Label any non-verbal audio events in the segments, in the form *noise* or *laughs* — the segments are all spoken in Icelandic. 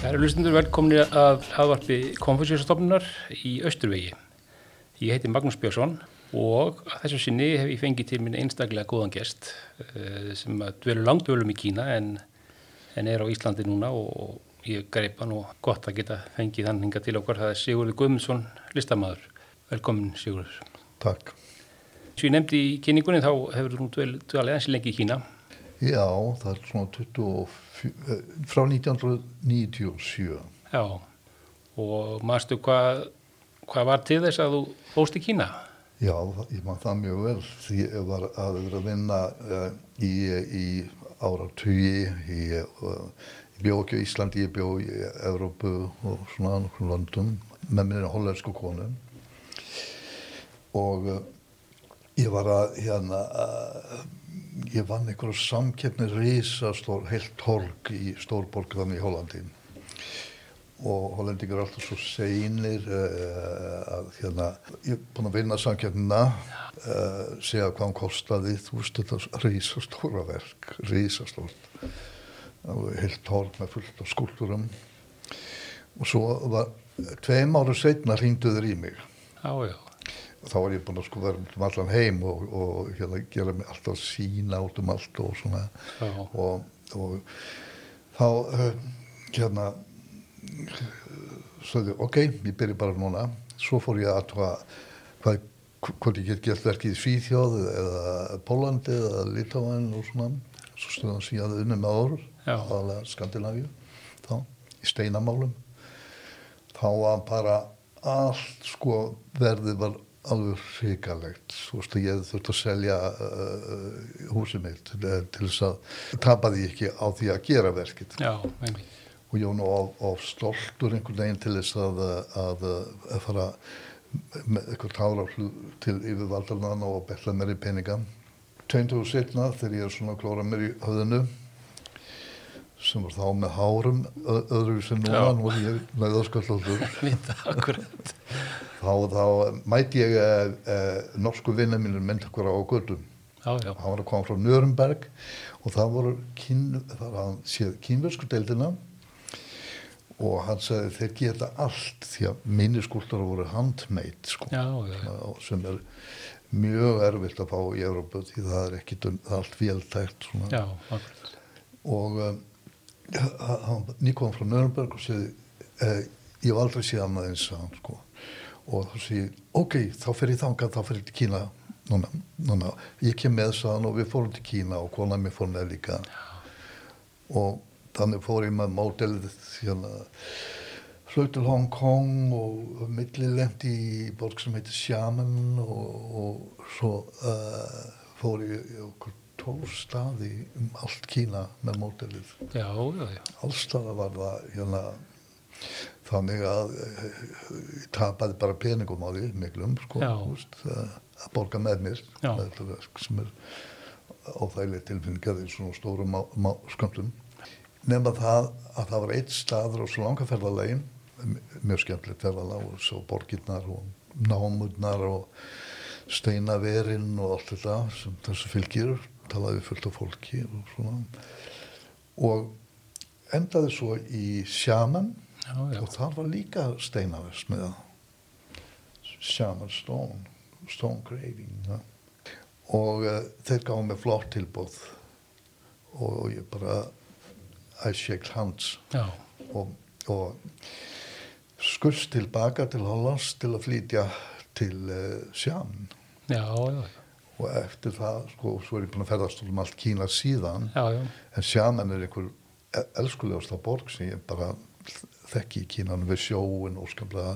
Kæru hlustundur, velkomni að hlaðvarpi konfessjósastofnunar í Östurvegi. Ég heiti Magnús Björnsson og að þessu sinni hef ég fengið til minn einstaklega góðan gest eh, sem að dvelur langdvölum í Kína en, en er á Íslandi núna og, og ég greip hann og gott að geta fengið hann hinga til okkar. Það er Sigurður Guðmundsson, listamaður. Velkomin Sigurður. Takk. Svo ég nefndi í kynningunni þá hefur þú nú dvel- dvalið eins lengi í Kína. Já, það er svona 24, eh, frá 1997. Já, og manstu hvað, hvað var til þess að þú fóst í Kína? Já, það- ég man það mjög vel því ég var að vera að vinna uh, í, í áratugi, ég uh, bjó ekki á Íslandi, ég bjó í Evrópu og svona nokkrum landum með minni hollensku konu og uh, ég var að hérna, uh, ég vann einhverja samkeppni risastór, heilt torg í stórborg þannig í Hollandi og hollendingar er alltaf svo seinir uh, að hérna, ég er búinn að vinna samkjöfnina, uh, segja hvað hann kostaði, þú veist þetta risastóra verk, risastórt, Alveg heilt torg með fullt af skúldurum og svo var, tveim ára setna hringdu þeir í mig Já, já. þá var ég búinn að sko vera út um allan heim og, og hérna gera mig alltaf sína út um allt og svona Já. og, og þá uh, hérna sagði, ok, ég byrja bara núna svo fór ég að athuga hvað, hvort ég get gert verkið í Svíþjóð eða Pólandi eða Litáin og svona svo stöðan síðan unni með orð Já. aðalega Skandinavíu þá, í steinamálum þá var bara allt sko verðið var alveg hrikalegt þú veist að ég þurfti að selja uh, húsið mitt eh, til þess að tapaði ég ekki á því að gera verkið Já, einmitt. og ég var nú of, of stoltur einhvern veginn til þess að, eh, að, eh, að fara með eitthvað táraflu til yfirvaldarnan og betla mér í peninga. 20 og setna þegar ég er svona að klóra mér í höfðinu sem var þá með hárum ö- öðruvísi en núna, Já. nú er ég næðaskallóttur Mitt akkurat. þá, þá mæti ég eh, eh, norsku vinna mínur myndakvara á gödum Já, já. hann var að koma frá Nörnberg og það voru kín, það hann séð kínversku deildina og hann sagði þeir geta allt því að minniskúltar voru handmeitt sko, Já, já, já. og sem er mjög erfitt að fá í Európa því það er ekki dun, það er allt veltækt svona Já, akkurat. og um, hann nýkom frá Nörnberg og segi eh, ég hef aldrei séð annað eins sagði hann, sko. og þá segi ég, ok, þá fer ég þangað þá fer ég til Kína núna, núna. ég kem með sagðan og við fórum til Kína og konan mér fór með líka og þannig fór ég með mótelið hérna flög til Hong Kong og millilendi í borg sem heitir Xiamen og, og svo uh, fór ég í okkur tólf staði um allt Kína með mótelið. Já, já, já. Allstaða var það hérna, þannig að eh, ég tapaði bara peningum á því miklum sko, Já. þú veist, eh, að borga með mér Já. með þetta verk sem er óþægileg tilfinningaði svona stórum má- má- skömmtum nema það að það var eitt staður á svo langa ferðalegin mjög skemmtilegt ferðalag og svo borgirnar og námurnar og steinaverinn og allt þetta sem þessu fylgir talaði við fullt af fólki og svona og endaði svo í Sjaman Já, já. og það var líka steinaversmiða Sjaman Stone Stone Graving ja. og uh, þeir gáði mig flott tilbúð og ég bara I shaked hands Já, og, og skurst tilbaka til Hollands til að flytja til uh, Sján já, já. og eftir það sko, svo er ég búin að ferðast um allt Kína síðan Já, já. en Sjaman er einhver e- elskulegasta borg sem ég bara þekki í Kínan við sjóin og skamlega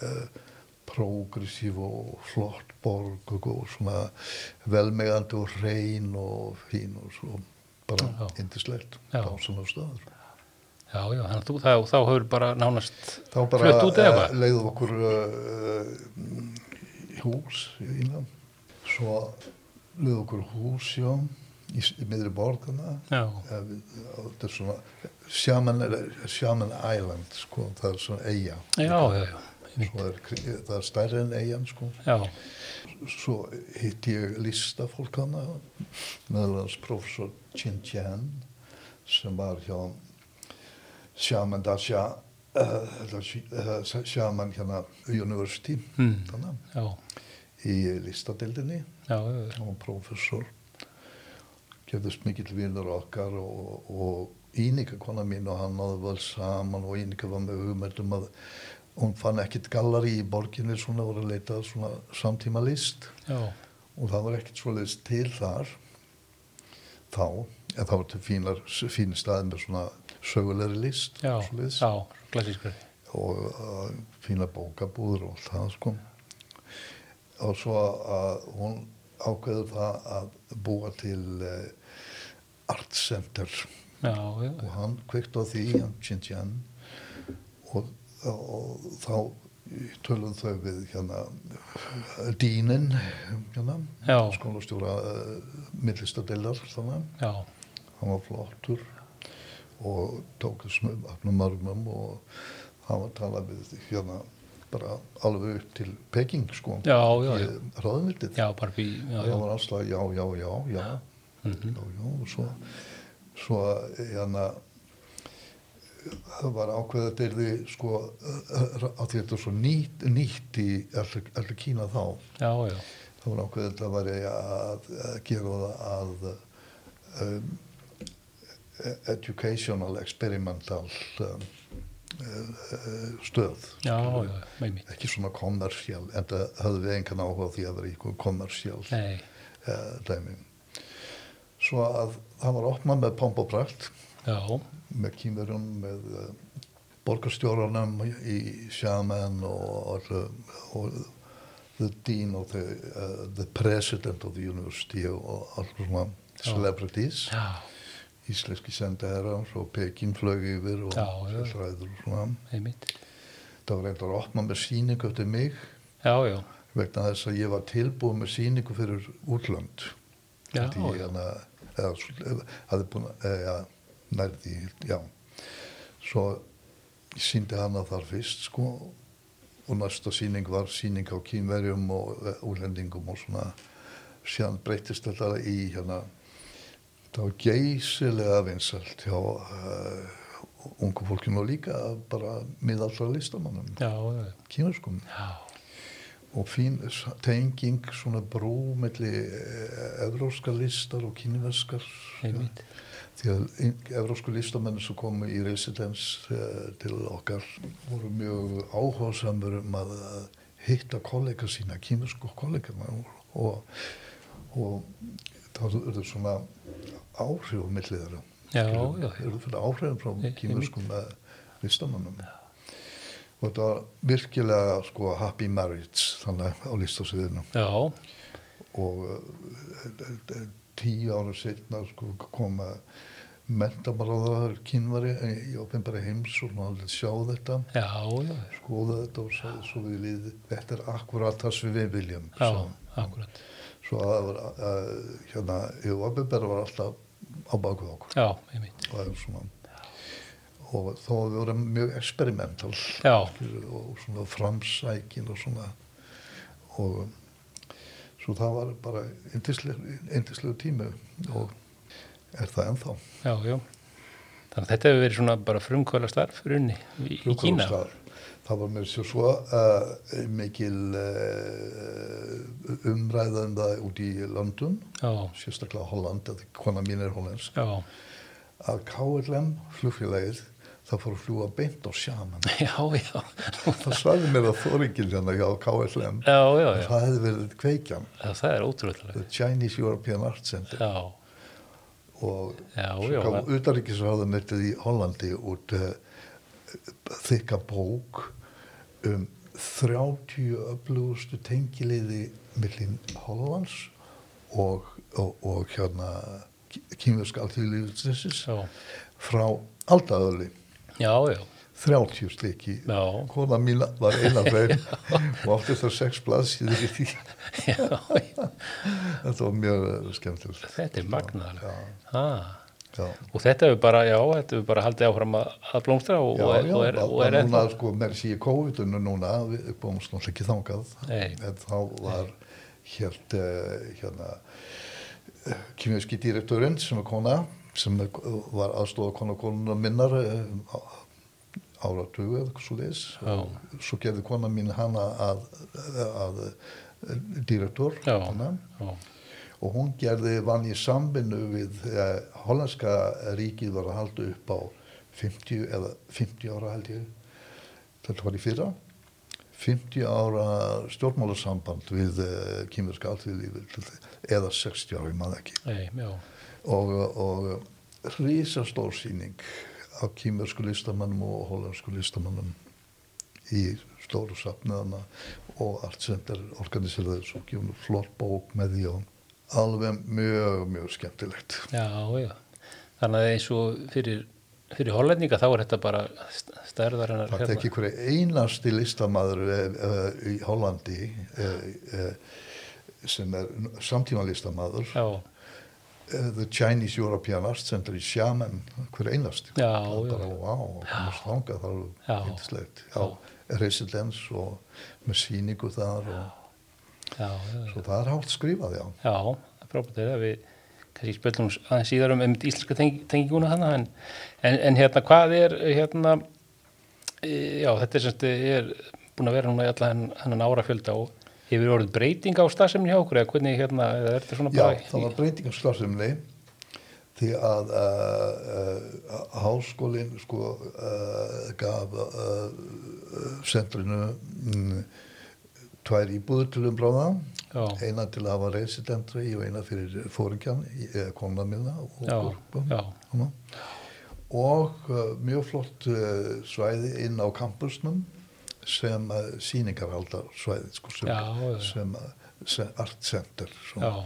uh, progressív og flott borg og, og svona velmegandi og reyn og fín og svo bara Já. indislegt Já. dásamlega staður Já, já, þannig að þú, þá, þá hefur bara nánast þá bara Flutt út eða eh, hvað? leiðum okkur uh, hús í Írland svo leiðum okkur hús já, í, s- í miðri borgana Já, þetta er svona Shaman, Shaman Island sko, það er svona eiga já, já, já. Einmitt. Svo er, kri- það er stærri en eigan sko. Já, svo hitti ég listafólk hana meðal hans professor Chin Chen sem var hjá sjaman Dasha uh, sjaman hérna University Mm. þannig, já, í listadeildinni já, já, hann var prófessor gerðist mikill vinnur okkar og, og Ínika kona mín og hann náðu vel saman og Ínika var með hugmyndum að hún fann ekkit gallari í borginni svona voru að leita að svona samtíma list já, og það var ekkit svo list til þar þá en það var til fínar, fín stað með svona sögulegri list já, svoleiðis já, klassískur, og uh, fína bókabúður og allt það sko og svo að hún ákveður það að búa til uh, Art Center já, já, og hann kveikt á því hann Xinjiang og, og þá tölum þau við hérna dýnin hérna, já, skólastjóra uh, millistadelar þannig já, hann var flottur og tók þessum öfnum armum og hann var að tala við hérna bara alveg upp til Peking sko já, já, já, ráðmyndið já, bara bí, já, já, mhm, hann var alltaf já, já, já, já já, já, og svo svo hérna það var ákveðið að þetta er sko að því þetta er svo nýtt, nýtt í allir, allir Kína þá já, já, það var ákveðið að það væri að, að gera það að um, e, educational experimental um, eh, stöð já, já, með mitt, ekki svona kommersjál en það höfðu við engan áhuga á því að vera eitthvað kommersjál nei, uh, dæmi svo að það var opnað með pomp og prakt já, með kýmverjum með uh, borgarstjóranum í Sjaman og, og, og the dean og the, uh, the president of the university og alls svona Já. celebrities já, íslenski sendaherra og Pekin flög yfir og Já, já. þessar ræður og svona með mitt, það var reyndar að opna með síningu eftir mig já, já, vegna þess að ég var tilbúið með síningu fyrir útlönd já, því hann að eða, svo- eða, hafði búin að eða, nærði, já svo síndi hana þar fyrst sko og næsta síning var síning á kínverjum og eh, úlendingum og svona síðan breytist þetta í hérna það var geysilega vinsalt hjá uh, ungu fólkinu og líka bara miðallra listamannum, já, já, kínverskum já, og fín s- tenging svona brú melli eh, evróskar listar og kínverskar með mitt, því að in- evrósku listamenn sem komu í residens eh, til okkar voru mjög áhugasamur um að eh, hitta kollega sína, kínversku kollega og, og, og það eru svona áhrif mellið þeirra já, Skilurðu? já, já, eru fyrir áhrifin frá Nei, kýmurskum listamannum og þetta var virkilega sko happy marriage þannig á listasviðinu já, og eh, eh, eh, tíu ára setna sko koma mentamálaðar kynvari eh, í ofinbæra heims og náttúrulega sjá þetta já, já, skoða þetta og sagði svo við líði þetta er akkurat það sem við viljum já, sagði hann. akkurat, svo að það var uh, hérna, ég var var alltaf á baku okkur já, með mitt, og það er svona og þó að við vorum mjög experimental já, skilurðu, og svona framsækin og svona og um, svo það var bara eindislegu tími og er það ennþá já, já, þannig að þetta hefur verið svona bara frumkvöla starf runni í, í Kína, Frumkvöðlastaður. það var mér sér svo uh, mikil uh, umræða um það út í London já, sérstaklega Holland, að kona mín er hollensk já, að KLM flugfélagið það fór að fljúa beint á sjaman *laughs* já, já, Það svæði mér að þóringil hérna hjá KSM. já, já, já, Það hefði verið kveikjan, já, það er ótrúlega, The Chinese European Arts Center já, og já, já, svo kom utaríkisráðunettið í Hollandi út uh, þykka bók um 30 öflugustu tengiliði millin Hollands og, og, og hérna kýmverska alþjóðlífisins já, frá aldaðöli, já, já, 30 sliki já, Kona mín var eina þeim *laughs* og átti það sex blaðsíður í því. já, já, *laughs* Þetta var mjög eh, skemmtilegt. þetta er magnaðalega, Já, hæ, já. og þetta hefur bara, já, þetta hefur bara haldið áfram að að blómstra og, Já, og, er, já, og er, og er núna ennþá, sko, mér sé ég COVID-unu núna, við bóðumst náttúrulega ekki þangað, Nei. en þá var hér, hérna, kymjöski direktorinn sem er kona, sem er- var aðstofa kona konuna minnar eh, á- áratugu eða eitthvað svo leis Já. og svo gerði kona mín hana að, að, að direktor Já. hana, já, og hún gerði vann í sambinu við eh, hollandska ríkið var að halda upp á 50 eða 50 ára held ég þetta var í fyrra 50 ára stjórnmálasamband við eh, kýmurska alltíðlífi eða 60 ára, ég maður ekki nei, já, og, og risastór síning af kýmversku listamannum og holandsku listamannum í stóru safnaðana og allt sem er organiserað svo gefur nú flott bók með því og alveg mjög, mjög skemmtilegt já, já. Þannig að eins og fyrir, fyrir hollendinga þá er þetta bara st- stærðar hennar hérna. það er ekki hverju einasti listamaður uh, í Hollandi uh, uh, sem er samtíma listamaður Já, The Chinese European Art Center í Sjaman, hver einast Já, bara já. wow, komast þangað það Já. er hittislegt Já. residens og með síningu þar og já, já, já. svo það er hátt skrifað já, Já, það er frábært þegar við kannski spöllum aðeins síðar um, um íslenska teng tenginguna hana en, en, en hérna hvað er hérna e, já þetta er semst er búin að vera núna í allan hennan árafjölda og hefur orðið breyting á starfsemin hjá okkur eða hvernig hérna eða er þetta svona já bara það var breytingarslarsumli því að uh, uh, háskólin sko uh, gaf uh, uh, sendrinu mm, tvær íbúður til umbráða já, eina til að hafa residentri og eina fyrir fóringjan konan minna og já, Gurkum. já, Hanna. og uh, mjög flott uh, svæði inn á kampusnum sem uh, síningarhaldar svæði sko, sem, Já, já. sem, uh, sem art center já, svona.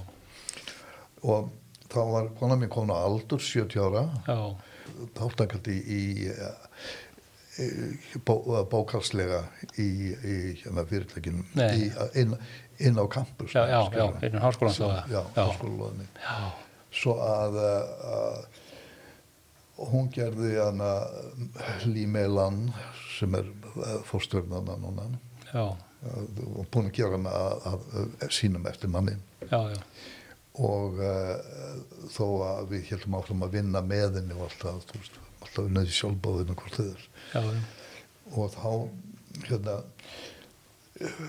og þá var kona mín komin á aldur 70 ára já, þáttakandi í, í uh, bó, uh, bókarslega í, í hérna, fyrirtækinu Nei. í, uh, inn, inn á kampus já, já, já, einu háskólan þá eða? já, já, háskólalóðinni já, svo að uh, hún gerði hana Límelan sem er fórstörnana núna já, uh, og búin að gera hana að, að, að sínum eftir manni já, já, og uh, þó að við heldum áfram að vinna með henni og alltaf, þú veist, alltaf vinnaði sjálfbóðinu hvort þið er já, já, og þá hérna eh,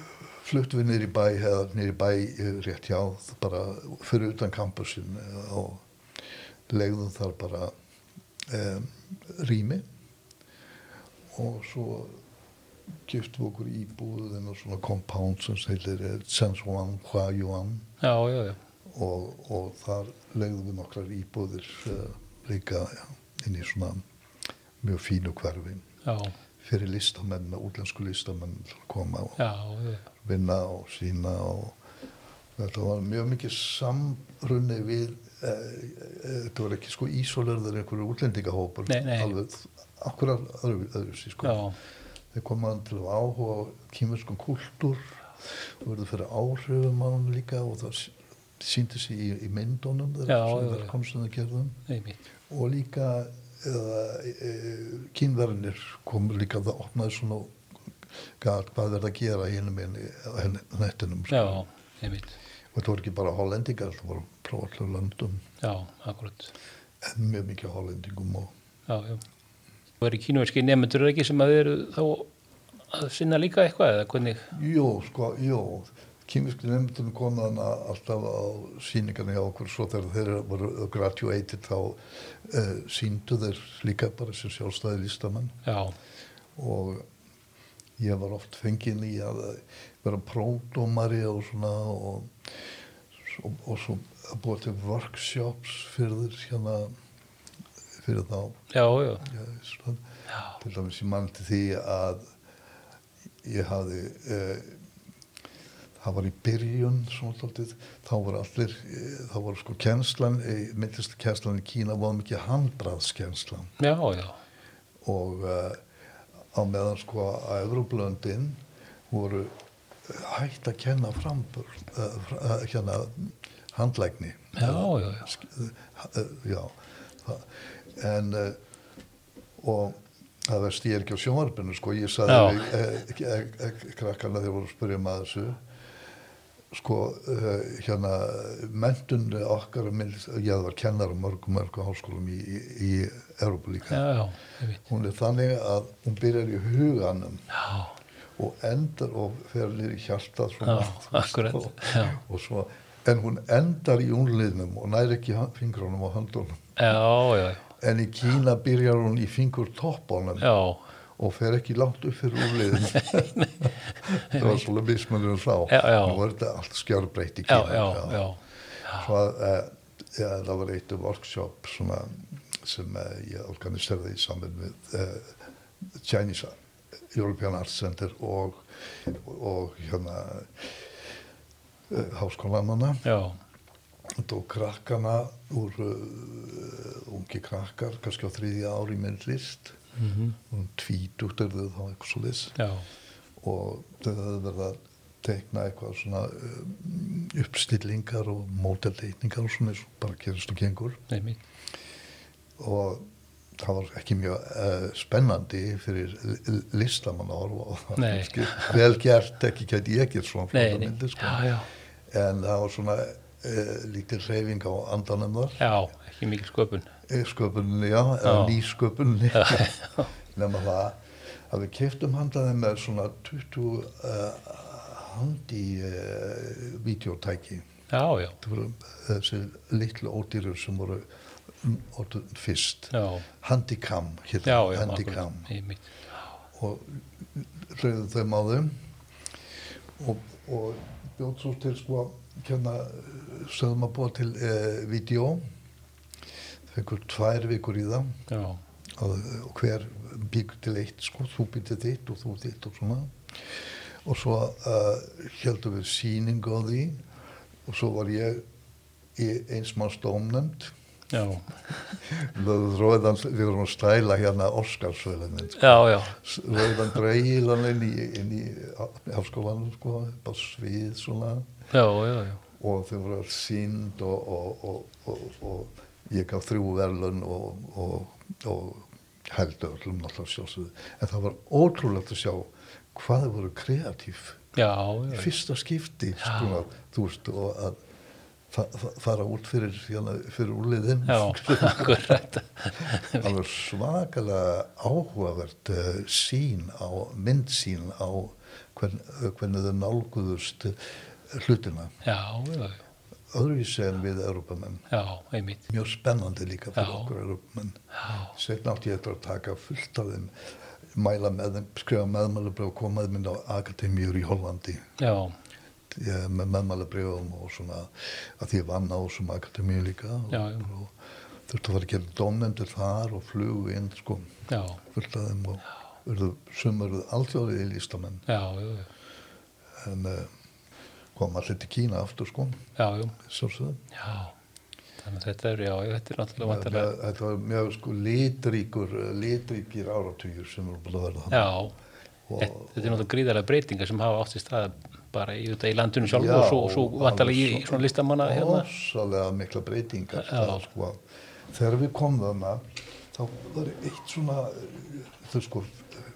fluttum við niður í bæ eða niður í bæ eh, rétt hjá bara fyrir utan kampusin og legðum þar bara um, rými og svo giftum við okkur íbúðin og svona compound sem heilir Sensuan, Hua Yuan já, já, já. og, og þar legðum við nokkrar íbúðir uh, líka ja, inn í svona mjög fínu hverfin Já, fyrir listamenn, útlensku listamenn til að koma og já, já, vinna og sína og þetta var mjög mikið samrunni við eh, eh, þetta var ekki sko ísólerður einhverju útlendingahópur Nei, nei. alveg akkurat öðru, öðru sí, sko. já, þeir koma til að áhuga á kýmurskum kúltúr og verður fyrir áhrifum á hann líka og það sí- sýndi sig í, í myndunum Já, þegar já, já. verðkomstum það gerðum einmitt, og líka eða, e, kynverðinir kom líka það opnaði svona gat, hvað er það að gera hinum inn í nettinum já, og einmitt, sko. þetta voru ekki bara hollendingar það voru frá allir löndum já, akkurat. en mjög mikið hollendingum og Já, já. Þú eru kínuverski nefndur ekki sem að þið eru þá að sinna líka eitthvað eða hvernig? jú, sko, jú kýmiski nefndunum kom þannig alltaf á síningarni á okkur svo þegar þeir voru graduated þá uh, síndu þeir líka bara sem sjálfstæði listamann Já, og ég var oft fenginn í að vera prófdómari og svona og, og, og svo að búa til workshops fyrir þér hérna fyrir þá já, já, já, Ísland. já, til dæmis ég mann til því að ég hafði eh, það var í byrjun svona þáttið, þá voru allir eh, þá voru sko kennslan, eh, myndlistu kennslan í Kína var mikið handbraðskenslan já, já, og uh, á meðan sko að Evróplöndin voru hægt að kenna frambur uh, uh, hérna handlækni já, já, já, uh, já það, en uh, og það veist ég er ekki á sjónvarpinu sko ég sagði Já. við, eh, eh, eh, krakkana þegar voru að spyrja maður þessu um sko uh, hérna mentun okkar minn- ég var kennar á mörgum mörgum háskólum í, í, í Európa líka já, já, ég veit. hún er þannig að hún byrjar í huganum Já, og endar og fer niður í hjartað Já, svona, þú veist, akkurat, já. og, og svo, en hún endar í únliðnum og næri ekki fingránum og handunum já, já, en í Kína byrjar hún í fingur toppunum já, og fer ekki langt upp fyrir úrliðin *laughs* *laughs* það var svolítið mismunir að sá Já, já. nú er þetta allt skjárbreytt í já, Kína já, já, Svo, uh, ja, það var eitt um workshop svona, sem uh, ég organiserði í saman við uh, Chinese European Arts Center og, og hérna uh, háskólamanna já, og krakkana úr uh, ungi krakkar kannski á þriðja ári í myndlist mhm, um tvítugt er þau þá eitthvað svo þess já, og þau höfðu verið að tekna eitthvað svona um, uppstillingar og mótelteikningar og svona eins og bara gerist og gengur nei, mitt, og það var ekki mjög uh, spennandi fyrir l- listamann að horfa á *laughs* það Nei. Kannski vel gert, ekki gæti ég gert svona nei, flottar nei, myndir, sko. já, já, en það var svona uh, lítil reyfing á andanum þar já, ekki mikil sköpun, Eh, sköpuninni, já, eða Já. nýsköpuninni Já, *laughs* nema það að við keiftum handaði með svona 20 uh, handi uh, videotæki já, já, það voru eh, þessi litlu ódýrur sem voru mm, orðin fyrst já, handicam, hér, já, já, handicam ég mitt, og reyðum þeim á þeim og, og bjótt svo til sko hérna sögðum að búa til uh, video fengur tvær vikur í það já, og, og hver byggur til eitt sko, þú byggur til þitt og þú þitt og svona og svo uh, heldum við sýningu á því og svo var ég í eins manns dómnefnd já, rauðan, við vorum að stæla hérna Óskarsvölunin já, já, rauðan dreigilan inn í, inn í afskólanum sko, bara svið svona já, já, já, og þau voru alls sínd og, og, og, og, og ég gaf þrjú verðlun og, og, og heldur öllum náttúrulega sjálfsögðu. En það var ótrúlegt að sjá hvað þau voru kreatív. já, Í já, fyrsta skipti, sko, þú veist, og að fa fa- fara út fyrir, hérna, fyrir úrliðin. já, *laughs* akkurat, Alveg svakalega áhugavert uh, sín á, myndsín á hvern, hvernig þau nálguðust eh, hlutina. já, já, já, Öðruvísi en við Europamenn. já, ég mitt, mjög spennandi líka fyrir Já. okkur Evrópumenn. já, Sveitna átti ég eftir að taka fullt af þeim, mæla með þeim, skrifa meðmælabrið og koma þeim inn á akademíur í Hollandi já, ég, með meðmælabriðum og svona að því ég vann á þessum akademíu líka og, Já, já. og þurfti að fara að gera dómnefndir þar og flugu inn sko já, fullt af þeim og urðu, sum eruðu alltjóðið í listamenn já, já, já, en uh, kom allir til Kína aftur sko, já, já, sjálfsögðu. Já, þannig að þetta er, já, þetta er náttúrulega Þetta vantarlega. þetta var mjög sko litríkur, eh, litríkir áratugir sem eru búin að verða þannig. Já, Og- þetta þetta er náttúrulega gríðarlega breytingar sem hafa átt í stað bara í, auðvitað í landinu sjálfu Já, og svo, og svo alveg vantarlega í, svo- í svona listamanna hérna. Rosalega mikla breytingar. Já. Það, sko. Þegar við komum þannig, þá var eitt svona, eh, þau sko,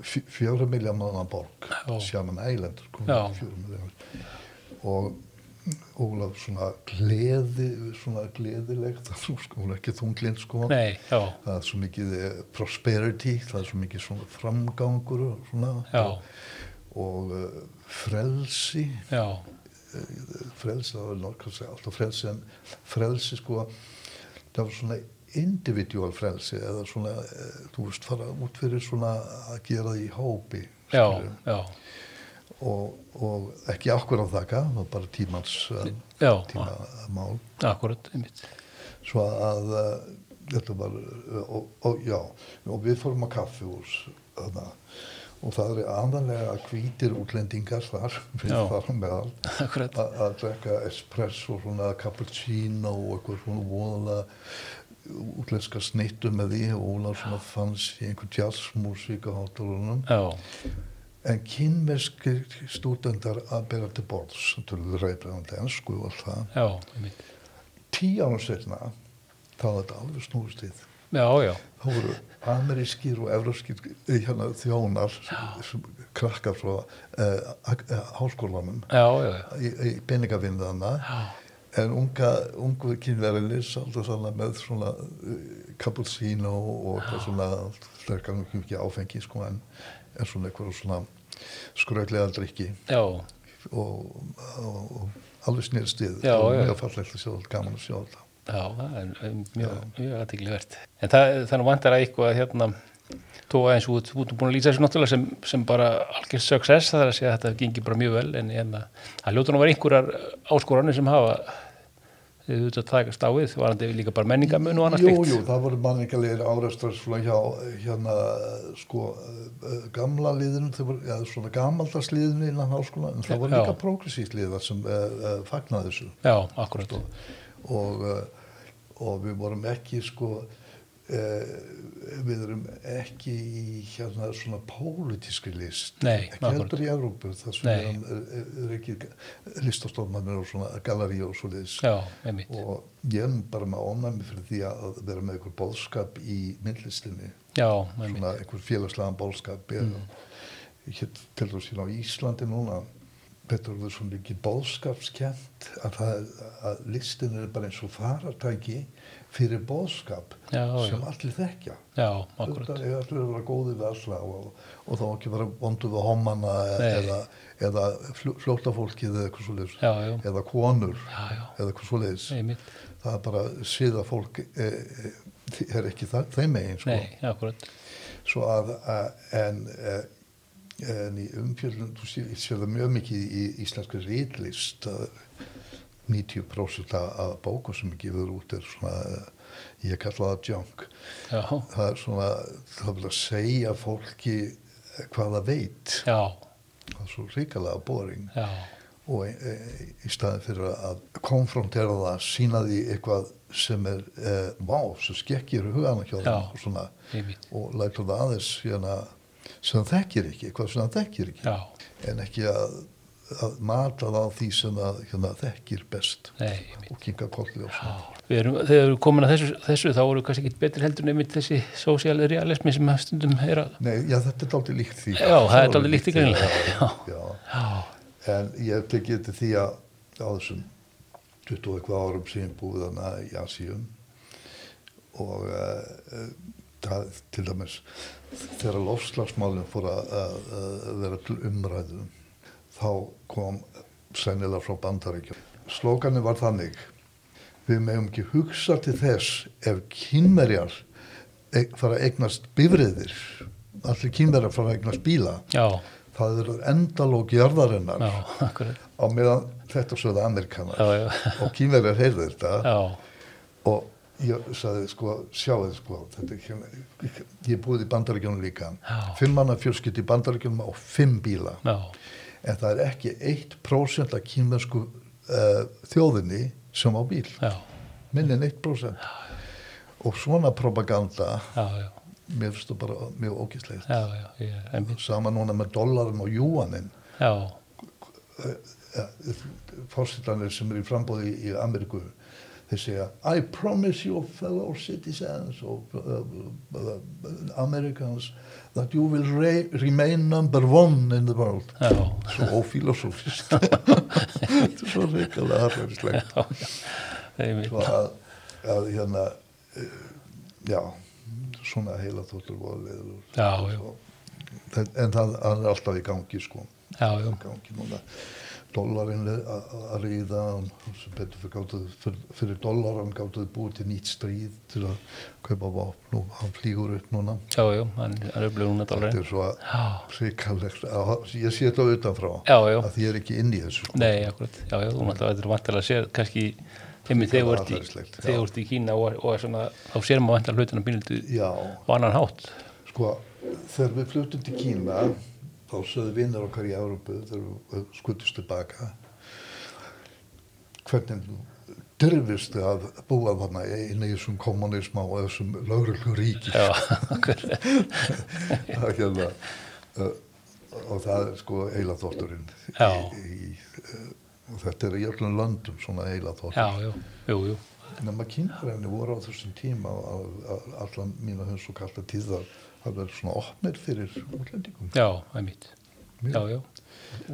fjóra miljómanna borg, Já. Sjaman Eiland, sko, Já. fjóra miljómanna. Og Ólaf svona gleði, svona gleðilegt, sko, hún er ekki þunglind, sko. Nei, já, það er svo mikið eh, prosperity, það er svo mikið svona framgangur og svona, já, og uh, frelsi, já, frelsi, það var náttúrulega alltaf frelsi, en frelsi sko, það var svona individual frelsi eða svona, uh, þú veist, fara út fyrir svona að gera því hópi já, skilurðu. já, og, og ekki akkur á þakka, það var bara tímans, eh, já, tímamál. akkurat, einmitt. *laughs* svo að uh, þetta var uh, og, og já, og við fórum að kaffihús þarna og það er aðanlega hvítir útlendingar þar, við Já. farum meðal Akkurat, að að drekka espresso svona cappuccino og eitthvað svona voðalega útlenska snittu með því og Ólaf svona fannst í einhver jazzmusík á hátalunum já, en kynverskir stúdendar að bera til borðs til reyðbreyðandi ennsku og allt það já, einmitt. tíu árum setna þá var þetta alveg snúist við já, já, þá voru amerískir og evróskir eh, hérna, þjónar sem krakkar frá uh, háskólanum já, já, já. í, í peningavinnaðana en unga, ungu kynverðinni sáldu þarna með svona uh, cappuccino og eitthvað svona sterkar nú ekki áfengi sko en, en svona eitthvað svona skröglega drikki já, og, og, og alveg snýrst við Já, og já. mjög fallegt að sjá þetta, gaman að sjá þetta já, það er um, mjög, mjög aðteglivert. En það, þannig vantar að eitthvað hérna, tóa eins og út, út og búin að lýsa þessu náttúrulega sem, sem bara algjörst success, það er að segja að þetta gengi bara mjög vel, en hérna, það ljóta nú að vera einhverjar áskoranir sem hafa þið auðvitað að takast á við, varandi líka bara menningamun og annars Jú, jú, það voru manningalegir árastrar svona hjá hérna sko eh, gamla liðinu, þau voru, ja, svona gamaldags liðinu innan háskóla, en það voru Já. líka progressíst liðar sem uh, uh, fagnaði þessu Já, akkurat. og, uh, og við vorum ekki sko uh, við erum ekki í hérna svona pólitískri list Nei, ekki akkúrat. heldur í Evrópu þar sem Nei. við erum, eh, er, er ekki listastofnarnir og svona gallerí og svo liðs Já, einmitt. og ég er nú bara með ónæmi fyrir því að vera með einhver bóðskap í myndlistinni Já, einmitt. svona einhver félagslegan bóðskap mm. ég hétt til þess að á Íslandi núna betur við svona ekki bóðskapskent að, það, að listin er bara eins og faratæki fyrir bóðskap Já, já. sem allir þekkja Já, akkurat. Þetta er allir að vera góði við alla og, og þá ekki vera vondu við homana Nei. eða, eða flótafólkið eða eitthvað svo Já, já. eða konur Já, já. eða eitthvað svo leiðis Einmitt. það er bara síða fólk e, e, er ekki það, þeim megin sko. Nei, akkurat. svo að, að en, e, en í umfjöldun þú sé, ég sé það mjög mikið í íslenskri rýtlist 90% af- af bókum sem gefur út er svona eh, ég kalla það junk Já, það er svona, það vil að segja fólki hvað það veit já, það er svo ríkalega boring já, og e, e, í staðin fyrir að konfrontera það, sína því eitthvað sem er, e, vá, sem skekkir hugana hjá Já. það og svona einmitt. og lætur það aðeins hérna, sem það þekkir ekki, eitthvað sem það þekkir ekki Já, en ekki að, að mata það á því sem það hérna, þekkir best nei, einmitt. og kinga kolli og svona Við erum, þegar við erum komin að þessu, þessu þá erum við kannski ekki betri heldur en einmitt þessi social realismi sem að stundum er að... Nei, já, þetta er dálítið líkt því Já, það er dálítið líkt í já, greinlega. já. Já, En ég hef tekið eftir því að á þessum 20 eitthvað árum sem ég er búið hana í Asíum og uh, það til dæmis þegar lofslagsmálinn fór að uh, vera til umræðu þá kom sennilega frá bandaríkjum. Slókanu var þannig við meðum ekki hugsa til þess ef kynverjar e- fara að eignast bifriðir allir kynverjar fara að eignast bíla já, það eru endalók jarðarinnar já, akkurat. á meðan þetta sögðu Amerikanar Já, já. og kínverjar heyrðu þetta Já, og ég sagði sko, sjáðu sko þetta, er hérna- ég, ég búið í bandaríkjunum líka Já. fimm manna fjölskyld í bandaríkjunum og fimm bíla já, en það er ekki 1% af kínversku uh, þjóðinni sem á bíl, já, minni en 1% og svona propaganda já, já, mér finnst það bara mjög ógislegt já, já, já, einmitt. sama núna með dollarum og júaninn Já, fórsetanir sem eru í frambóði í Ameríku þeir segja I promise your fellow citizens of uh, uh, Americans that you will re remain number one in the world já, svo ófílósófist þetta er *laughs* svo reikala aðræðislegt einmitt. svo að, að hérna uh, já svona heila þóttur voru leiður Já, já, en það, það er alltaf í gangi sko já, já, gangi núna dólarinn er að að ríða og sem betur fyrir, gátu, fyrir, fyrir dólaran gáttu þið búið til nýtt stríð til að kaupa vopn og hann flýgur upp núna já, já, hann hann er upplöfun að þetta dálurinn. er svo Já, ríkalegt ég sé þetta utanfrá já, já, að því ég er ekki inn í þessu nei, akkurat. Já, já, þú náttúrulega, þetta er vantilega að sér, kannski, einmitt þegar Líka þú ert í- aðferðislegt, já. þegar þú ert í Kína og, og svona, þá sér maður vantilega hlutina bílindu já, á annan hátt. sko þegar við flutum til Kína þá sögðu vinnar okkar í Európu þegar við skutist tilbaka hvernig dyrfist að búa þarna inn í þessum kommunisma og þessum lögreglu ríki Já, *laughs* akkurat. það er hérna uh, og það er sko eila þótturinn Já. í, í, uh, og þetta er í öllum löndum svona eila þóttur Já, já, jú, jú, nema kynbrenni voru á þessum tíma að allan mína höns og kalla tíðar að vera svona opnir fyrir útlendingum já, það er mitt Mjög. já, já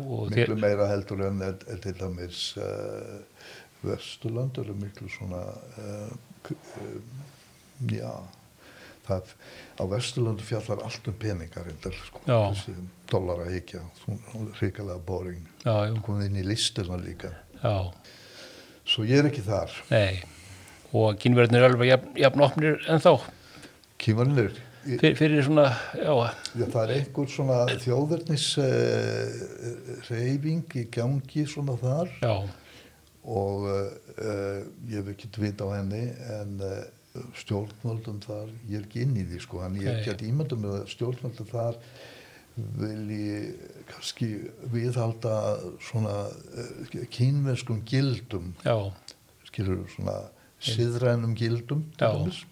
og miklu þeir, meira heldur en en- en til dæmis uh, Vesturland eru miklu svona uh, k- uh, já það, á Vesturlandu fjallar allt um peningar reyndar, sko, Já. þessi dollara higgja, ríkalega boring já, já, komið inn í listina líka já, svo ég er ekki þar nei og kynverðinir er alveg jafn, jafn opnir en þá kýmanir fyrir, fyrir svona, já, Já, það er einhver svona þjóðverðnis uh, reyfing í gangi svona þar já, og uh, uh, ég hef ekki dvita á henni en uh, stjórnvöldum þar, ég er ekki inn í því sko, en ég Nei. hef gert ímyndum með að stjórnvöldum þar vilji kannski viðhalda svona uh, kínverskum gildum já, skilur svona siðrænum gildum til Já. dæmis,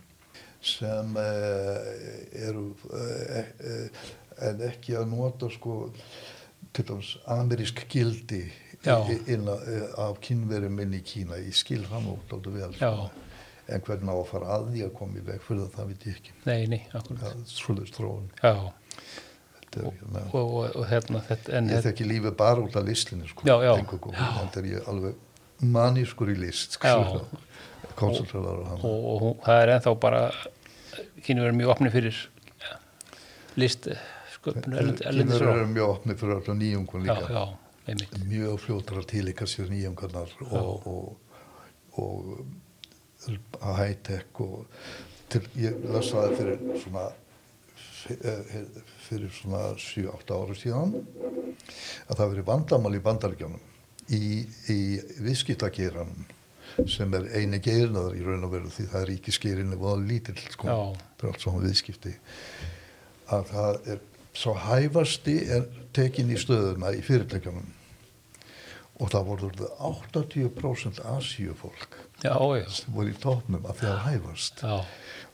sem uh, eru uh, uh, en ekki að nota sko til dæmis amerísk gildi Já. i- inn að, eh, af kynverum inn í Kína ég skil það út áttu vel sko. já en hvernig á að fara að því að koma í veg fyrir það, það veit ég ekki nei, nei, akkurat það er svolítið þróun já, þetta er, hérna, og, og, og hérna þetta, en ég þekki lífið bara út af listinni sko, Já, já. eingöngu. en það er ég alveg manískur í list sko, koncentralar á hann og, og hún- það er ennþá bara kynverðin mjög opni fyrir ja, list eh, sköpun erlend- erlendis Kínverður frá. eru mjög opni fyrir öllu nýjungun já, líka já, einmitt mjög fljótar að tilika sér nýjungarnar og, og, og að high-tech og til, ég las það fyrir svona f- eh, fyrir svona 7-8 ára síðan að það verið vandamál í bandaríkjánum í, í viðskiptageiranum sem er eini geirnaður í raun og veru því það er ekki skeirinni voða lítill sko, Já. það er allt svona viðskipti að það er svo hæfasti er tekin í stöðuna í fyrirtækjanum og það voru 80% asíufólk já, já, sem voru í topnum af því að hæfast já,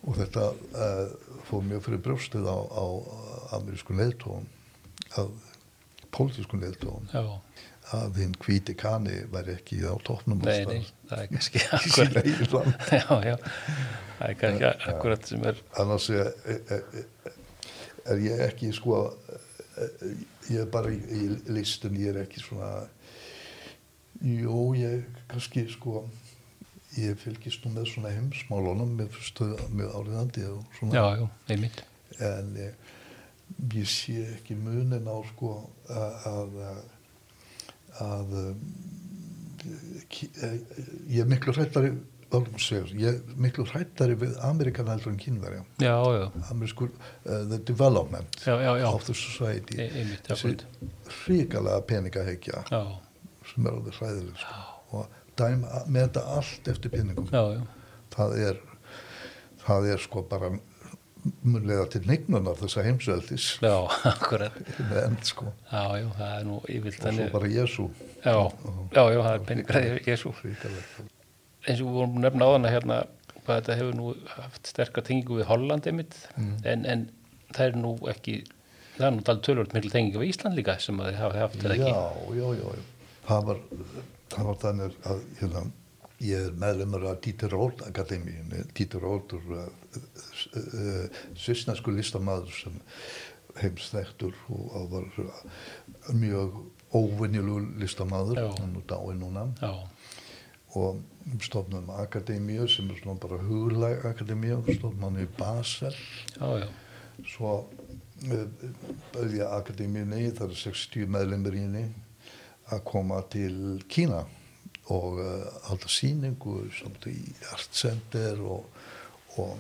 og þetta uh, fór mjög fyrir brjóstið á, á amerísku leðtóum að pólitísku leðtóum já að hinn hvíti kani væri ekki á topnum nei, nei, það er *laughs* kannski *laughs* sína akkurat eigin land já, já, það er kannski akkurat sem er annars er, er, er ég ekki sko eh, ég er bara í, í listum ég er ekki svona jú, ég kannski sko ég fylgist nú með svona heimsmálunum með, með áriðandi og svona já, já, einmitt en ég, ég sé ekki munin á sko að að, að eh, ki- eh, ég er miklu hrættari ég er miklu hrættari við Amerikan heldur en kynverja já, já, amerískur uh, the development já, já, já. of the society E- einmitt, þessi akkurat hrikalega peningahegja já, sem er alveg hræðileg sko. og dæm að meta allt eftir peningum já, já, það er það er sko bara munlega til neignunar þessa heimsveldis já, *laughs* akkurat með end sko já, já, það er nú yfirlt og svo þannig bara Jésu já, já, já, það er peningræði Jésu hrikalega eins og við vorum að nefna á hana hérna hvað þetta hefur nú haft sterka tengingu við Holland einmitt Mm. en, en það er nú ekki það er nú talið tölvöld mikil tengingu við Ísland líka sem að þið hafa haft já, þetta ekki já, já, já það var, það var þannig að hérna, ég er meðlumur að Dieter Rold Akademíunni Dieter Rold er uh, uh, svissnesku listamaður sem heimsþektur og og var uh, mjög óvenjulegu listamaður Já. hann er dáin núna já, og stofnum akademíu sem er svona bara huglæg akademíu stofnum hann í Basel já, já, svo eh, bauð ég akademíunni, það eru 60 meðlumir í henni, að koma til Kína og uh, halda sýningu samt í Art Center og, og,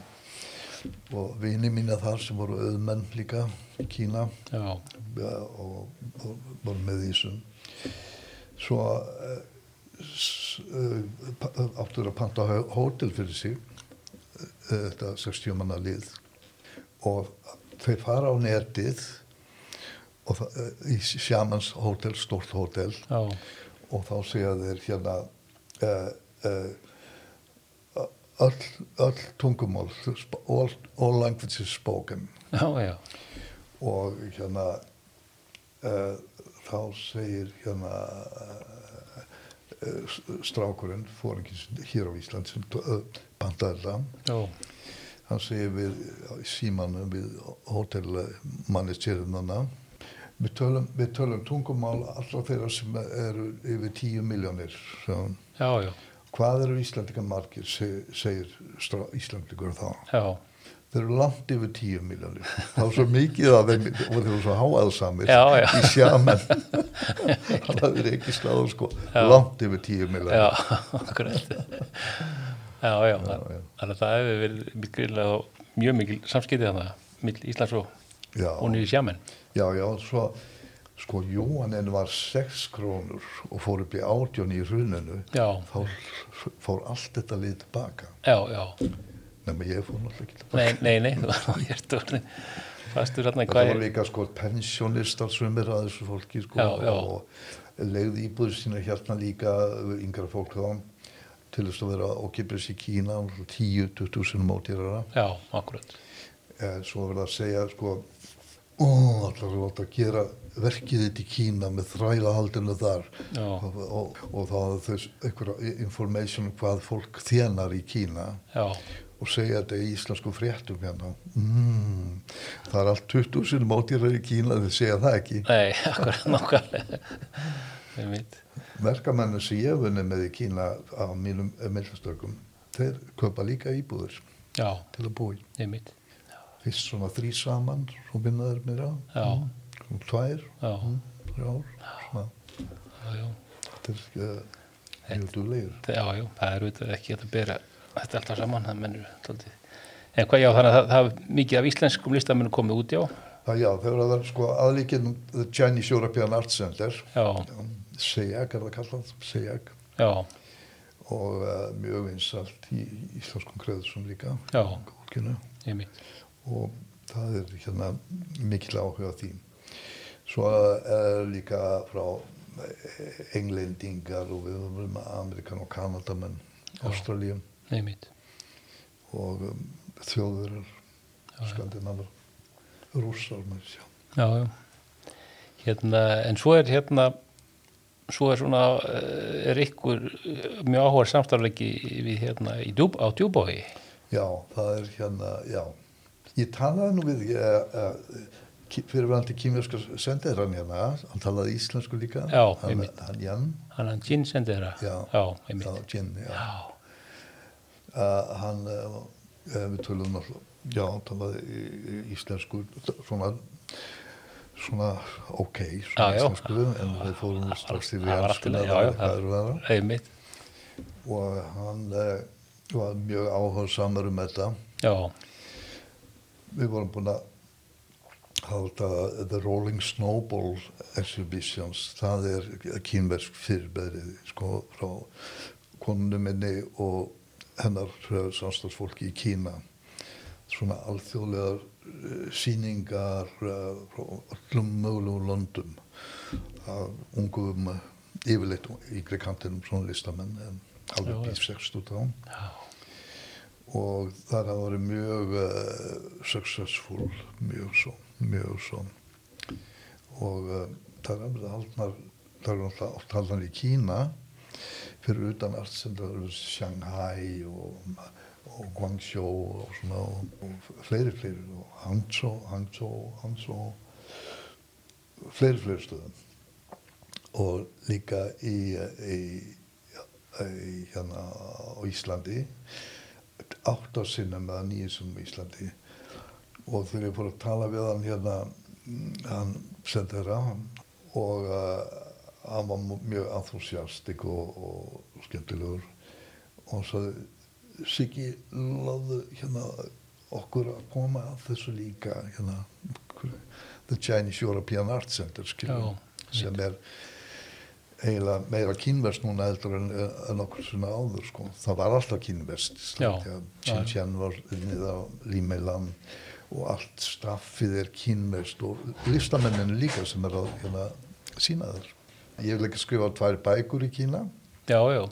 og vini mína þar sem voru auðmenn líka í Kína já, ja, og, og voru með í þessum svo uh, uh, áttur að panta hó- hótel fyrir sig eh, þetta 60 manna lið og þau fara á netið og það, eh, í Sjamans hótel, stórt hótel já, og þá segja þeir hérna uh, uh, öll, öll tungumál sp- all, all languages spoken já, já, og hérna eh, uh, þá segir hérna uh, eh, strákurinn, fóringin hér á Ísland sem eh, pantaði það já, hann segir við í símanum við hótelmannisterinnana við tölum, við tölum tungumál allra þeirra sem eru yfir 10 miljónir sagði hann. já, já, hvað eru Íslandingar margir se- segir strá- Íslandingur þá já, þeir eru langt yfir 10 miljónir það var svo mikið af þeim og þeir eru svo háaðsamir Já, já. í *laughs* sjaman hann hafði ekki sláður sko Já. langt yfir 10 miljónir já, akkurat. *laughs* Já, já, já. þannig að það hefur verið mjög greiðlega mjög mikil samskiptið þannig, mill Íslands og, Já. og nýri sjámen. Já, já, svo sko Jóhannin var 6 krónur og fór upp í átjón í hruninu Já. þá fór allt þetta lið tilbaka Já, já, nema ég fór náttúrulega ekki tilbaka nei, nei, *laughs* nei, þú var nú hérst og fastur hérna í þetta hvað var er, líka sko pensjónistar sumir að þessu fólki sko Já, já. og legði íbúður sína hérna líka yngra fólk þá til þess að vera okkipis í Kína 10-20 sinum átýrara já, akkurat, eh, svo verða að segja sko ó, allar er láta að gera verkið þitt í Kína með þrælahaldinu þar Já. og, og, og þá hafði þau einhverja information um hvað fólk þjenar í Kína já, og segja þetta í íslensku fréttum hérna mm, það er allt 20 sinum átýrar í Kína þau segja það ekki nei, *laughs* akkurat, nákvæmlega, við mitt, verkamennir sem ég vunni með í Kína á mínum meðlastökum þeir köpa líka íbúður já, til að búi við mitt, fyrst svona þrý saman og vinnaður mér á Já. og Mm. tvær mm, já, þrjár svona. já, já. þetta er ekki mjög duglegir Það- Já, já, það er auðvitað ekki hægt að bera þetta alltaf saman, það mennur tóltið. En hvað, já, þannig að það, það er mikið af íslenskum listamönnum komið út, já, það já, þegar það er sko aðlíkinn The Chinese European Arts Center um, já, SEAG er það kallað, SEAG já, og uh, mjög vinsalt í íslenskum kreðsum líka Já. Kólkinu. ég mitt, og það er hérna mikil áhuga á því svo er líka frá eh, englendingar og við höfum Amerikan og Kanadamenn Ástralíum ég mitt, og um, þjóðurar, já. skandinavar, rússar með sjá. já, já. Hérna, en svo er hérna, svo er svona, eh, er ykkur eh, mjög áhuga samstarleiki við hérna í djúb, á djúbói, Já, það er hérna, já. Ég talaði nú við eh, eh, ki- fyrirverandi kýmjörska sendirann hérna, hann talaði íslensku líka, Já, hann, einmitt. hann Jan, hann hann Jinn sendið þeirra, já, já, ég já, mitt, Jin, já. já, Uh, hann, uh, við töluðum alltaf, já, talaði í- í- íslensku, svona, svona, ok, svona Já, já. íslensku, en við fórum nú strax til það við var allt í enskuna, lagi, já, já, það er hvað það- eru það? ég mitt, og hann eh, var mjög áhuga samar um þetta. já, Við vorum búin að halda The Rolling Snowball Exhibitions, það er kínversk fyrirbærið, sko, frá konunni minni og hennar samstagsfólki í Kína. Svona alþjóðlegar uh, síningar uh, frá öllum mögulegum löndum af ungum, eh, yfirleitt yngri kantinum svona listamenn, en Já, alveg já. bífsext út á hann já, og það hafa verið mjög uh, successful, mjög svo, mjög svo. Og uh, það er alveg haldnar, það eru náttúrulega oft haldnar í Kína, fyrir utan allt sem það eru Shanghai og, og Guangzhou og svona, og, og fleiri, fleiri, og Hangzhou, Hangzhou, Hangzhou, fleiri, fleiri stöðum. Og líka í, í, í hérna á Íslandi, átt á sinnum eða nýju sinnum í Íslandi og þegar ég fór að tala við hann hérna mm, hann sendi þeirra og uh, hann var mú- mjög enthúsiastik og, og skemmtilegur og svo Siggi láðu hérna okkur að koma að þessu líka hérna hver- The Chinese European Art Center skilur, Já, sem er eiginlega meira kínverst núna heldur en, en okkur svona áður sko. það var alltaf kínverst Já, já. Xinjiang var niður á Límeilan og allt staffið er kínverst og listamennin líka sem er að hérna, sína þar ég vil ekki skrifa tvær bækur í Kína já, já,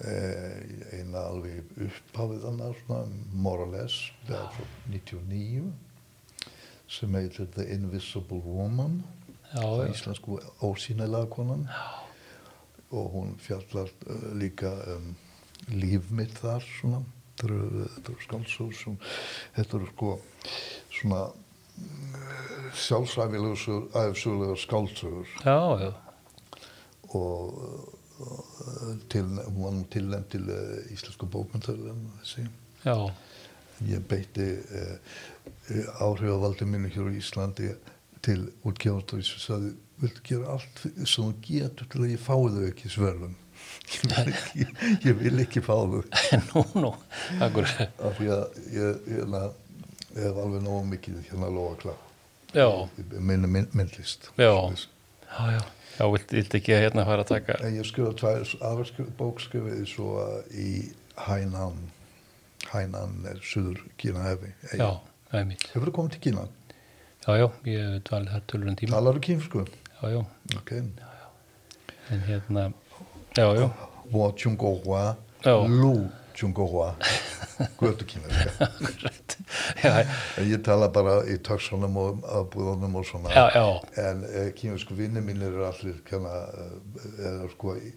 eh, eina alveg upphafið annar svona, more or less það er frá 99 sem heitir The Invisible Woman já, á já, íslensku ósýnilega konan og hún fjallar uh, líka um, líf mitt þar svona þetta eru, þetta eru skálsögur sem þetta eru sko svona eh, sjálfsæfilegu æfisögulega skálsögur já, já, og uh, til, hún var nú tilnæmt til uh, íslensku bókmyndarlegum þessi já, ég beitti uh, áhrifavaldi mínu hér á Íslandi til útgefandi og ég sagði viltu gera allt fyrir- sem þú getur til að ég fái þau ekki svörlum *laughs* ég, vil ekki- ég vil ekki fá þau nú, nú, akkur, af því að ég, ég, ég hef alveg nógu mikið hérna að lofa klá já, minni mynd, myndlist Já. Svoleiðis. já, já, já, vilt, vilt ekki að hérna fara að taka, en ég skrifa tvær aðra bókskrifiði svo að í Hainan Hainan er suður Kína hefi já, einmitt, hefur þú komið til Kína? já, já, ég dvalið þar tölurinn tíma, talar þú kínsku? já, já, ok en hérna, já, já, *laughs* Wo Tjungohua Já. Lu *laughs* Tjungohua Guðtu kínaska akkurat, já, En ég tala bara í töksunum og afbúðunum og svona já, já, en eh, kínversku vinnir mínir eru allir kanna, er, sko, í-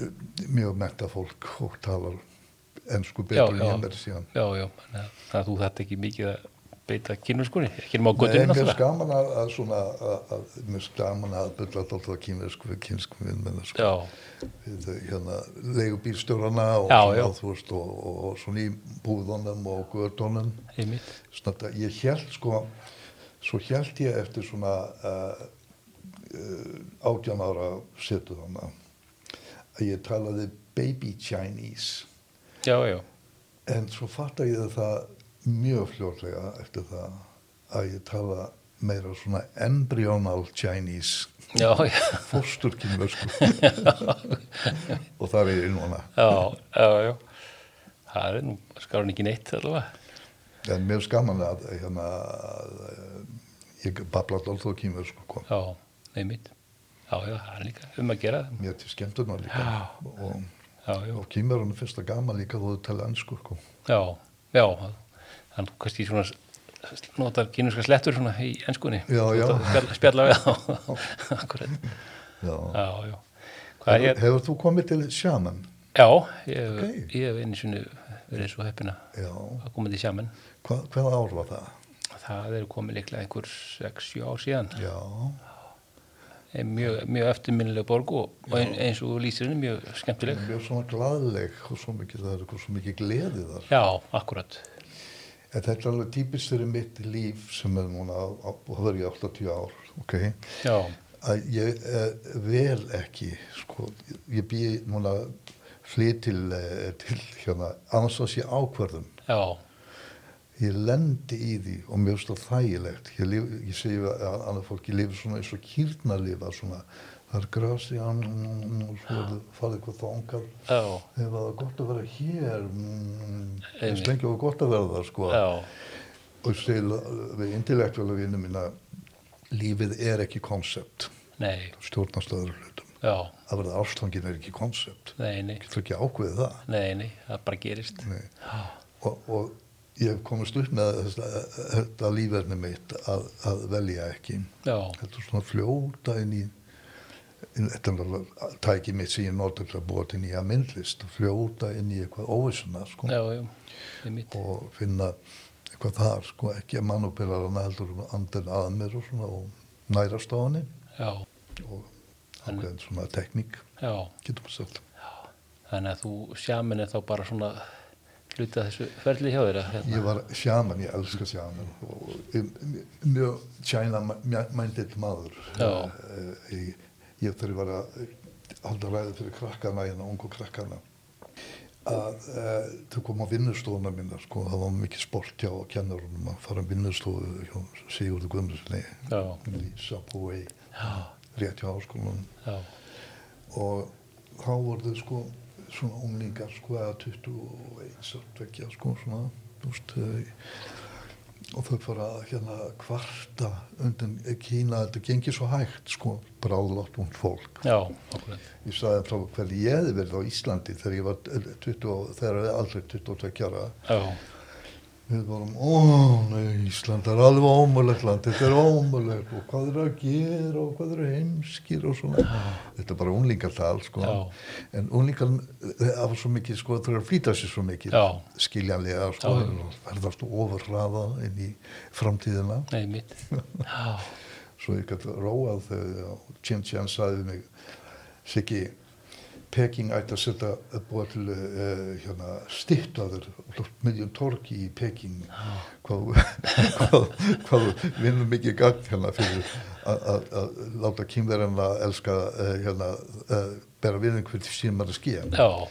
eh, mjög metta fólk og talar ennsku Já, betur en já. ég verði síðan já, já, þannig að- þannig að þú þetta ekki mikið að beita kynverskunni, ekki nema á Nei, göttunni mér er náttúrulega, skaman að, að svona að, að, mér er skaman að byrla alltaf kínversku við kínsku vinnmenn sko. já, við eh, hérna, leigubílstjórana og, Já, svona, já. þú veist, og, og, og svona í búðunum og gördunum einmitt, Snart, ég held sko svo held ég eftir svona uh, uh, átján ára setu þarna að ég talaði baby Chinese já, já, en svo fatta ég það mjög fljótlega eftir það að ég tala meira svona embryonal Chinese já, já, fórstur sko. og það er ég núna já, já, já. Það er nú skarun ekki neitt allavega. en mér er skaman að hérna að, eh, ég babla alltaf kínversku sko. kom Já, einmitt. Já, já, það er líka um að gera það. mér til skemmtunar líka Já. og, Já, já, og kýmverðunum finnst það gaman líka þó þau tala ennsku sko. já, já. Þannig kannski svona s- notar kynurska slettur svona í ennskunni. Já, já. Notar- Spjalla, spjalla við þá. *laughs* Akkurat. Já. Já, já. Hvað Hefur, ég, hefur þú komið til sjaman? já, ég, Ok. ég hef einu sinni verið svo heppina Já, að koma til sjaman. Hva, hvaða ár var það? Það eru komið líklega einhver 6-7 ár síðan. Já, Ein Mjög, mjög eftirminnileg borg og, og ein- eins og þú lýsir henni mjög skemmtileg. hún er svona glaðleg og svo mikið, það er eitthvað svo mikið gleði þar Já, akkurat. en þetta er alveg típist fyrir mitt líf sem er núna, á- á- og það er ég 80 ár ok, Já, að ég eh, vel ekki sko, ég, ég bý núna flyt til, eh, til hérna, annars að sé ákvörðum já, ég lendi í því og mér finnst það þægilegt ég, lif, ég segi að að annað fólk ég lifi svona eins og kýrna lifa svona það er grasi og svo er það farið eitthvað þangað já, ef það er gott að vera hér mm, Einmitt. eins lengi og gott að vera það sko já, og ég segi la- við intellektuala vinnum minna lífið er ekki konsept nei, stjórnast öðru hlutum já, að verða ástfangin er ekki konsept nei, nei, getur ekki ákveðið það nei, nei, það bara gerist. Nei. Já, og, og ég hef komist upp með þetta, þetta lífverðni mitt að, að velja ekki já, þetta er svona fljóta inn í inn, þetta er alveg tæki mitt sem ég nota til að búa til nýja myndlist og fljóta inn í eitthvað óvissuna sko, já, já, ég mitt, og finna eitthvað þar sko, ekki að mannúpilar hana heldur um andin að mér og svona og nærast á henni já, og ákveðin svona tekník já, getum við sagt þannig að þú sjamin er þá bara svona hluta þessu ferli hjá þér að Ég hérna. var sjaman, ég elska sjaman og ég- ég- mjög China-minded maður. Já. Eh, Ég, ég þurfi var að halda ræði fyrir krakkana, hérna, ungu krakkana. Að uh, þau kom á vinnustofuna mína, sko, það var mikið sport hjá kennurunum að fara á vinnustofu hjá Sigurðu Guðmundssoni Já, í Subway, já, rétt hjá háskólanum já, og þá voru þau sko svona unglingar sko eða 21 og 22 sko svona þú veist þau- og þau fara að hérna kvarta undan Kína þetta gengir svo hægt sko bráðlátt hún fólk já, akkurat, ég sagði þeim frá hvernig ég hefði verið á Íslandi þegar ég var 20, og- þegar ég var aldrei 22 ára já, við vorum, ó, nei, Ísland er alveg ómulegt land, þetta er ómulegt og hvað eru að gera og hvað eru heimskir og svona, þetta er bara unglingartal, sko, Já. en unglingar af svo mikið, sko, það er að flýta sér svo mikið, Já. skiljanlega, sko, Já. og verðast ofurraða inn í framtíðina, Nei, mitt. Já, svo ég gæti róað þegar Jim Chan sagði við mig, Siggi, Peking ætti að setja að búa til uh, hérna, stýttaður miðjum torki í Peking hvað, hvað, *laughs* hvað vinnum mikið gagn hérna fyrir að- að að láta kýmverðin að elska uh, hérna, uh, bera viðin hvernig síðan maður að skýja já,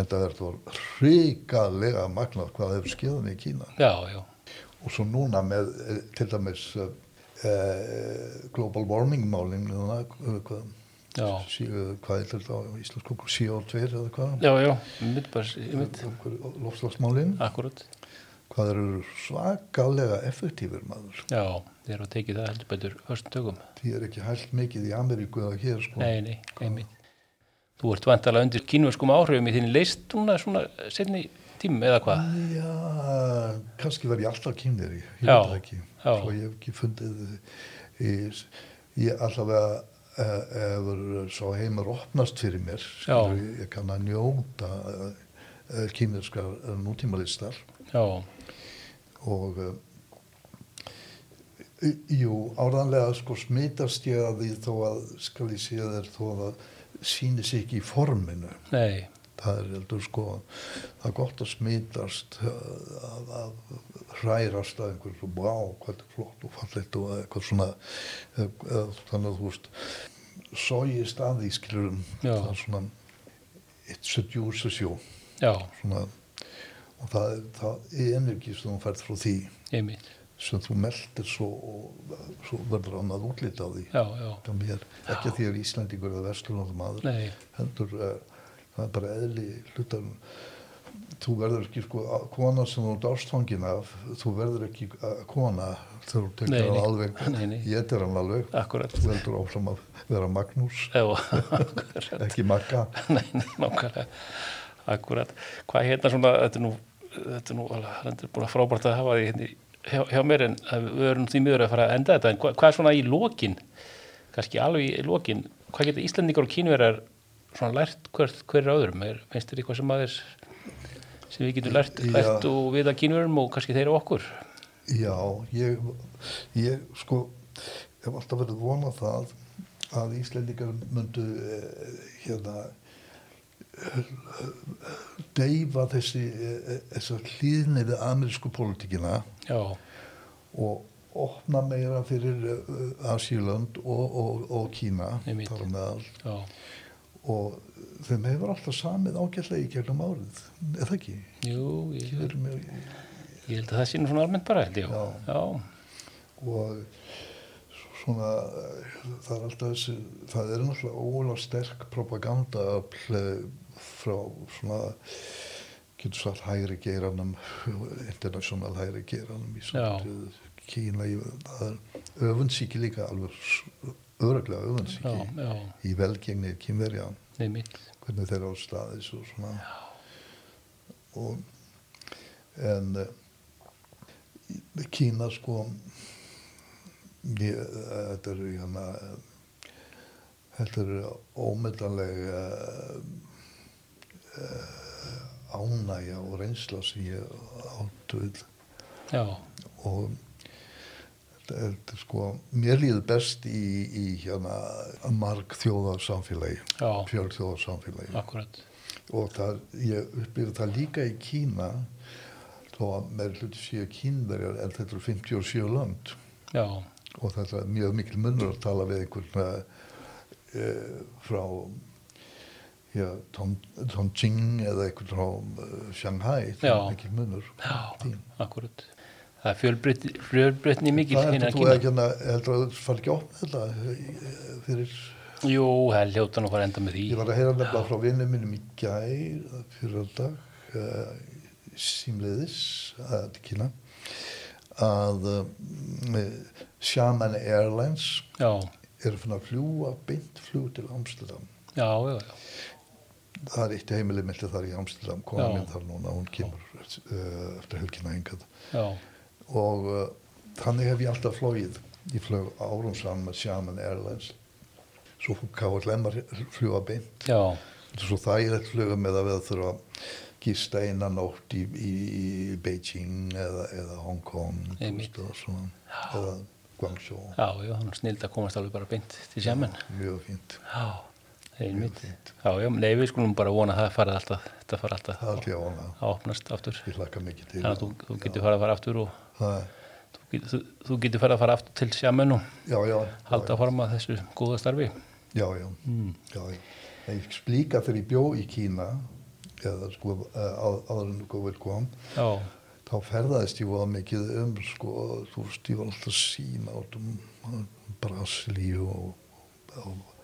en það er það ríkalega magnað hvað hefur skýðan í Kína já, já. og svo núna með eh, til dæmis uh, uh, global warming málin núna, uh, hvað, Já. sí, uh, hvað er þetta á íslensku CO2 eða hvað Já, já, mitt bara, mitt, lofslagsmálin akkurat. hvað þeir eru svakalega effektífir maður Já, þeir eru að tekið það heldur betur höstum tökum. því er ekki hægt mikið í Ameríku eða hér sko Nei, nei, einmitt. Þú ert vantalega undir kínverskum áhrifum í þín leist núna svona setni tímum eða hvað? Já, kannski var ég alltaf kynir ég veit Já, það ekki já. svo ég hef ekki fundið ég, ég allavega eh, hefur svo heimur opnast fyrir mér skilur, Já. ég, ég kann að njóta uh, kynirskar uh, nútímalistar Já, og uh, jú, áranlega sko smitast ég að því þó að skal ég segja þér þó að það sýni sig ekki í forminu nei, það er heldur sko það er gott að smitast uh, að, að hrærast að einhverju svo bá, hvað þetta er flott og fallegt og eitthvað svona uh, uh, þannig að þú veist sógist að því skilurum Já. það er svona it's a juice a show já, svona, og það er, það er energi sem þú færð frá því einmitt. sem þú meldir svo og uh, svo verður annað útlita á því Já, já, hjá mér, ekki að því að ég er Íslandingur eða verslunarðum aður nei, heldur uh, það er bara eðli hlutan þú verður ekki sko a- kona sem þú ert ástfangin af þú verður ekki uh, kona þegar þú Nei, tekur hann nei. alveg *laughs* Nei, nei. Ah. ég er hann alveg akkurat. þú heldur áfram að vera Magnús Já, *laughs* akkurat. ekki Magga *laughs* Nei, nei, nákvæmlega, akkurat. Hvað hérna svona, þetta er nú, þetta er nú, alveg- þetta er bara frábært að hafa því hérna í- hjá, hjá mér en að við erum því miður að fara að enda þetta, en hvað, hvað er svona í lokin, kannski alveg í lokin, hvað geta Íslandingar og kínverjar svona lært hver, hver er öðrum? Er, finnst þér eitthvað sem aðeins, sem við getum lært, Já. lært og við að kínverjum og kannski þeir og okkur? já, ég, ég sko hef alltaf verið vonað það að Íslendingar myndu uh, hérna eh, deyfa þessi, eh, þessa hlýðni við amerísku pólitíkina Já, og opna meira fyrir Asíland og, og, og Kína Einmitt. þar á meðal já, og þeim hefur alltaf samið ágætlega í gegnum árið eða ekki jú, ég, Þeir eru mjög, ég held að það sé nú svona almennt bara, held ég. Já. já. og svona eh, það er alltaf þessi það er náttúrulega ólega sterk propaganda frá svona getur sagt hægri geiranum international hægri geiranum í Já. samtöðu Kína í, það er öfundsíki líka alveg öruglega Já, öfundsíki já, í velgengni kynverja neymitt, hvernig þeir eru á staðis og svona og en eh, í- Kína sko ég, eh, þetta eru hérna eh, þetta eru eh, ómyndanlega eh, ánægja og reynsla sem ég áttu við já, og þetta er- þetta er sko mér líður best í, í hérna marg þjóðarsamfélagi já, fjölþjóðarsamfélagi akkurat, og það, ég upplýði það líka í Kína þó að með hluti séu kínverjar en þetta eru 57 land já, og þetta er mjög mikil munur að tala við einhvern e, frá já, Tong- Tongjing eða einhvern frá eh, Shanghai, það Já. er mikil munur já, Fín. akkurat. Það er fjölbreytni, fjölbreytni mikil Það hérna heldur að þú kynna. ekki hérna, heldur að þú fari ekki að opna þetta eh, fyrir, Jú, það er hljóta nú að fara að enda með því. ég var að heyra nefnilega frá vinnum mínum í gær fyrir dag uh, símleiðis að kynna að um, Shaman Airlines Já, eru fann að fljúa beint fljú til Amsterdam já, já, já, það er eitt heimilið milli þar í Amsterdam kona Já. minn þar núna, hún kemur uh, eftir helgina engað já, og uh, þannig hef ég alltaf flóið ég flög árum saman með Shaman Airlines svo fór KLM að fljúa beint já, þetta er svo þægilegt fluga með að við þurfum að gista einan nótt í, í, í Beijing eða, eða Hong Kong þú Einmitt. veist, og svona, eða Guangzhou já, já, hann er snild að komast alveg bara beint til sjaman. mjög fínt Já, einmitt. Já, já, nei, við skulum bara vona að það farið alltaf, þetta farið alltaf það er allir ána, að opnast aftur. ég hlakka mikið til Þannig að þú, þú getur farið að fara aftur og það er, þú, get- þú, þú getur farið að fara aftur til sjaman og já, já, Mm. halda að forma þessu góða starfi. já, já, já, já. En ég slíka þegar ég bjó í Kína eða sko eh, á- áður en góður kom Já, þá ferðaðist ég voða mikið um sko, þú veist, ég var alltaf sína út um eh, Brasilíu og, og,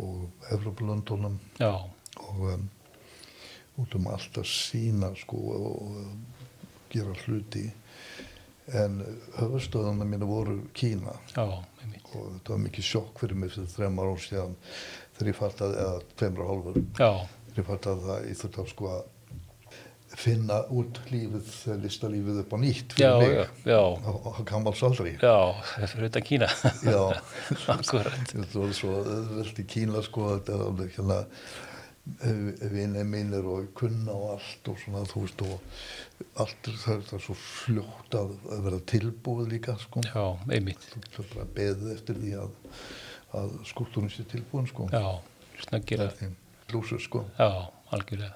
og Evropalöndunum já, og um, út um alltaf sína sko og um, gera hluti en höfustöðuna mínu voru Kína já, einmitt. og þetta var mikið sjokk fyrir mig fyrir þremar ár síðan þegar ég fattaði, eða tveimra og hálfur Já, þegar ég fattaði það ég þurfti að sko að finna út lífið, eh, listalífið upp á nýtt já, fyrir já, mig já, á, á gammalsaldri já, fyrir utan Kína. *laughs* já, Akkurat. þetta var svo öðvöld í Kína sko þetta er alveg hérna vinni mínir og kunna og allt og svona þú veist og allt er- það er, það er svo fljótt að, að vera tilbúið líka sko Já, einmitt. þú þú bara beðið eftir því að, að skúltúrin sé tilbúin sko Já, snakkir að, lúsur sko já, algjörlega.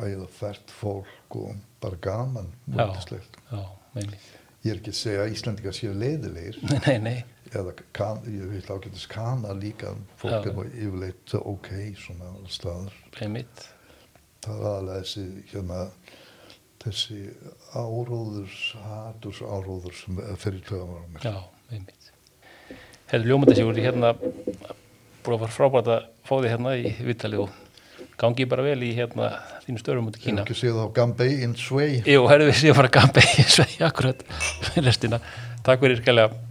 æða fært fólk og bara gaman Já. yndislegt. Já, einmitt. *laughs* ég er ekki að segja að Íslandingar séu leiðilegir Nei, nei, nei, eða kan, ég vil ágætis kana líka fólk Já. er nú yfirleitt ok svona alls staðar einmitt. það er aðalega þessi hérna þessi áróðurs haturs áróður sem fyrir töðum ára mér Já, einmitt. Hefðu ljómandi sigur í hérna, búin að fara frábært að fá þig hérna í Vittali og gangi bara vel í hérna þínu störum út í ég hef Kína. ekki séð þá Gambay in Sway *laughs* Jú, herðu við séum bara að gambe í þessu akkurat restina. Takk fyrir skælega.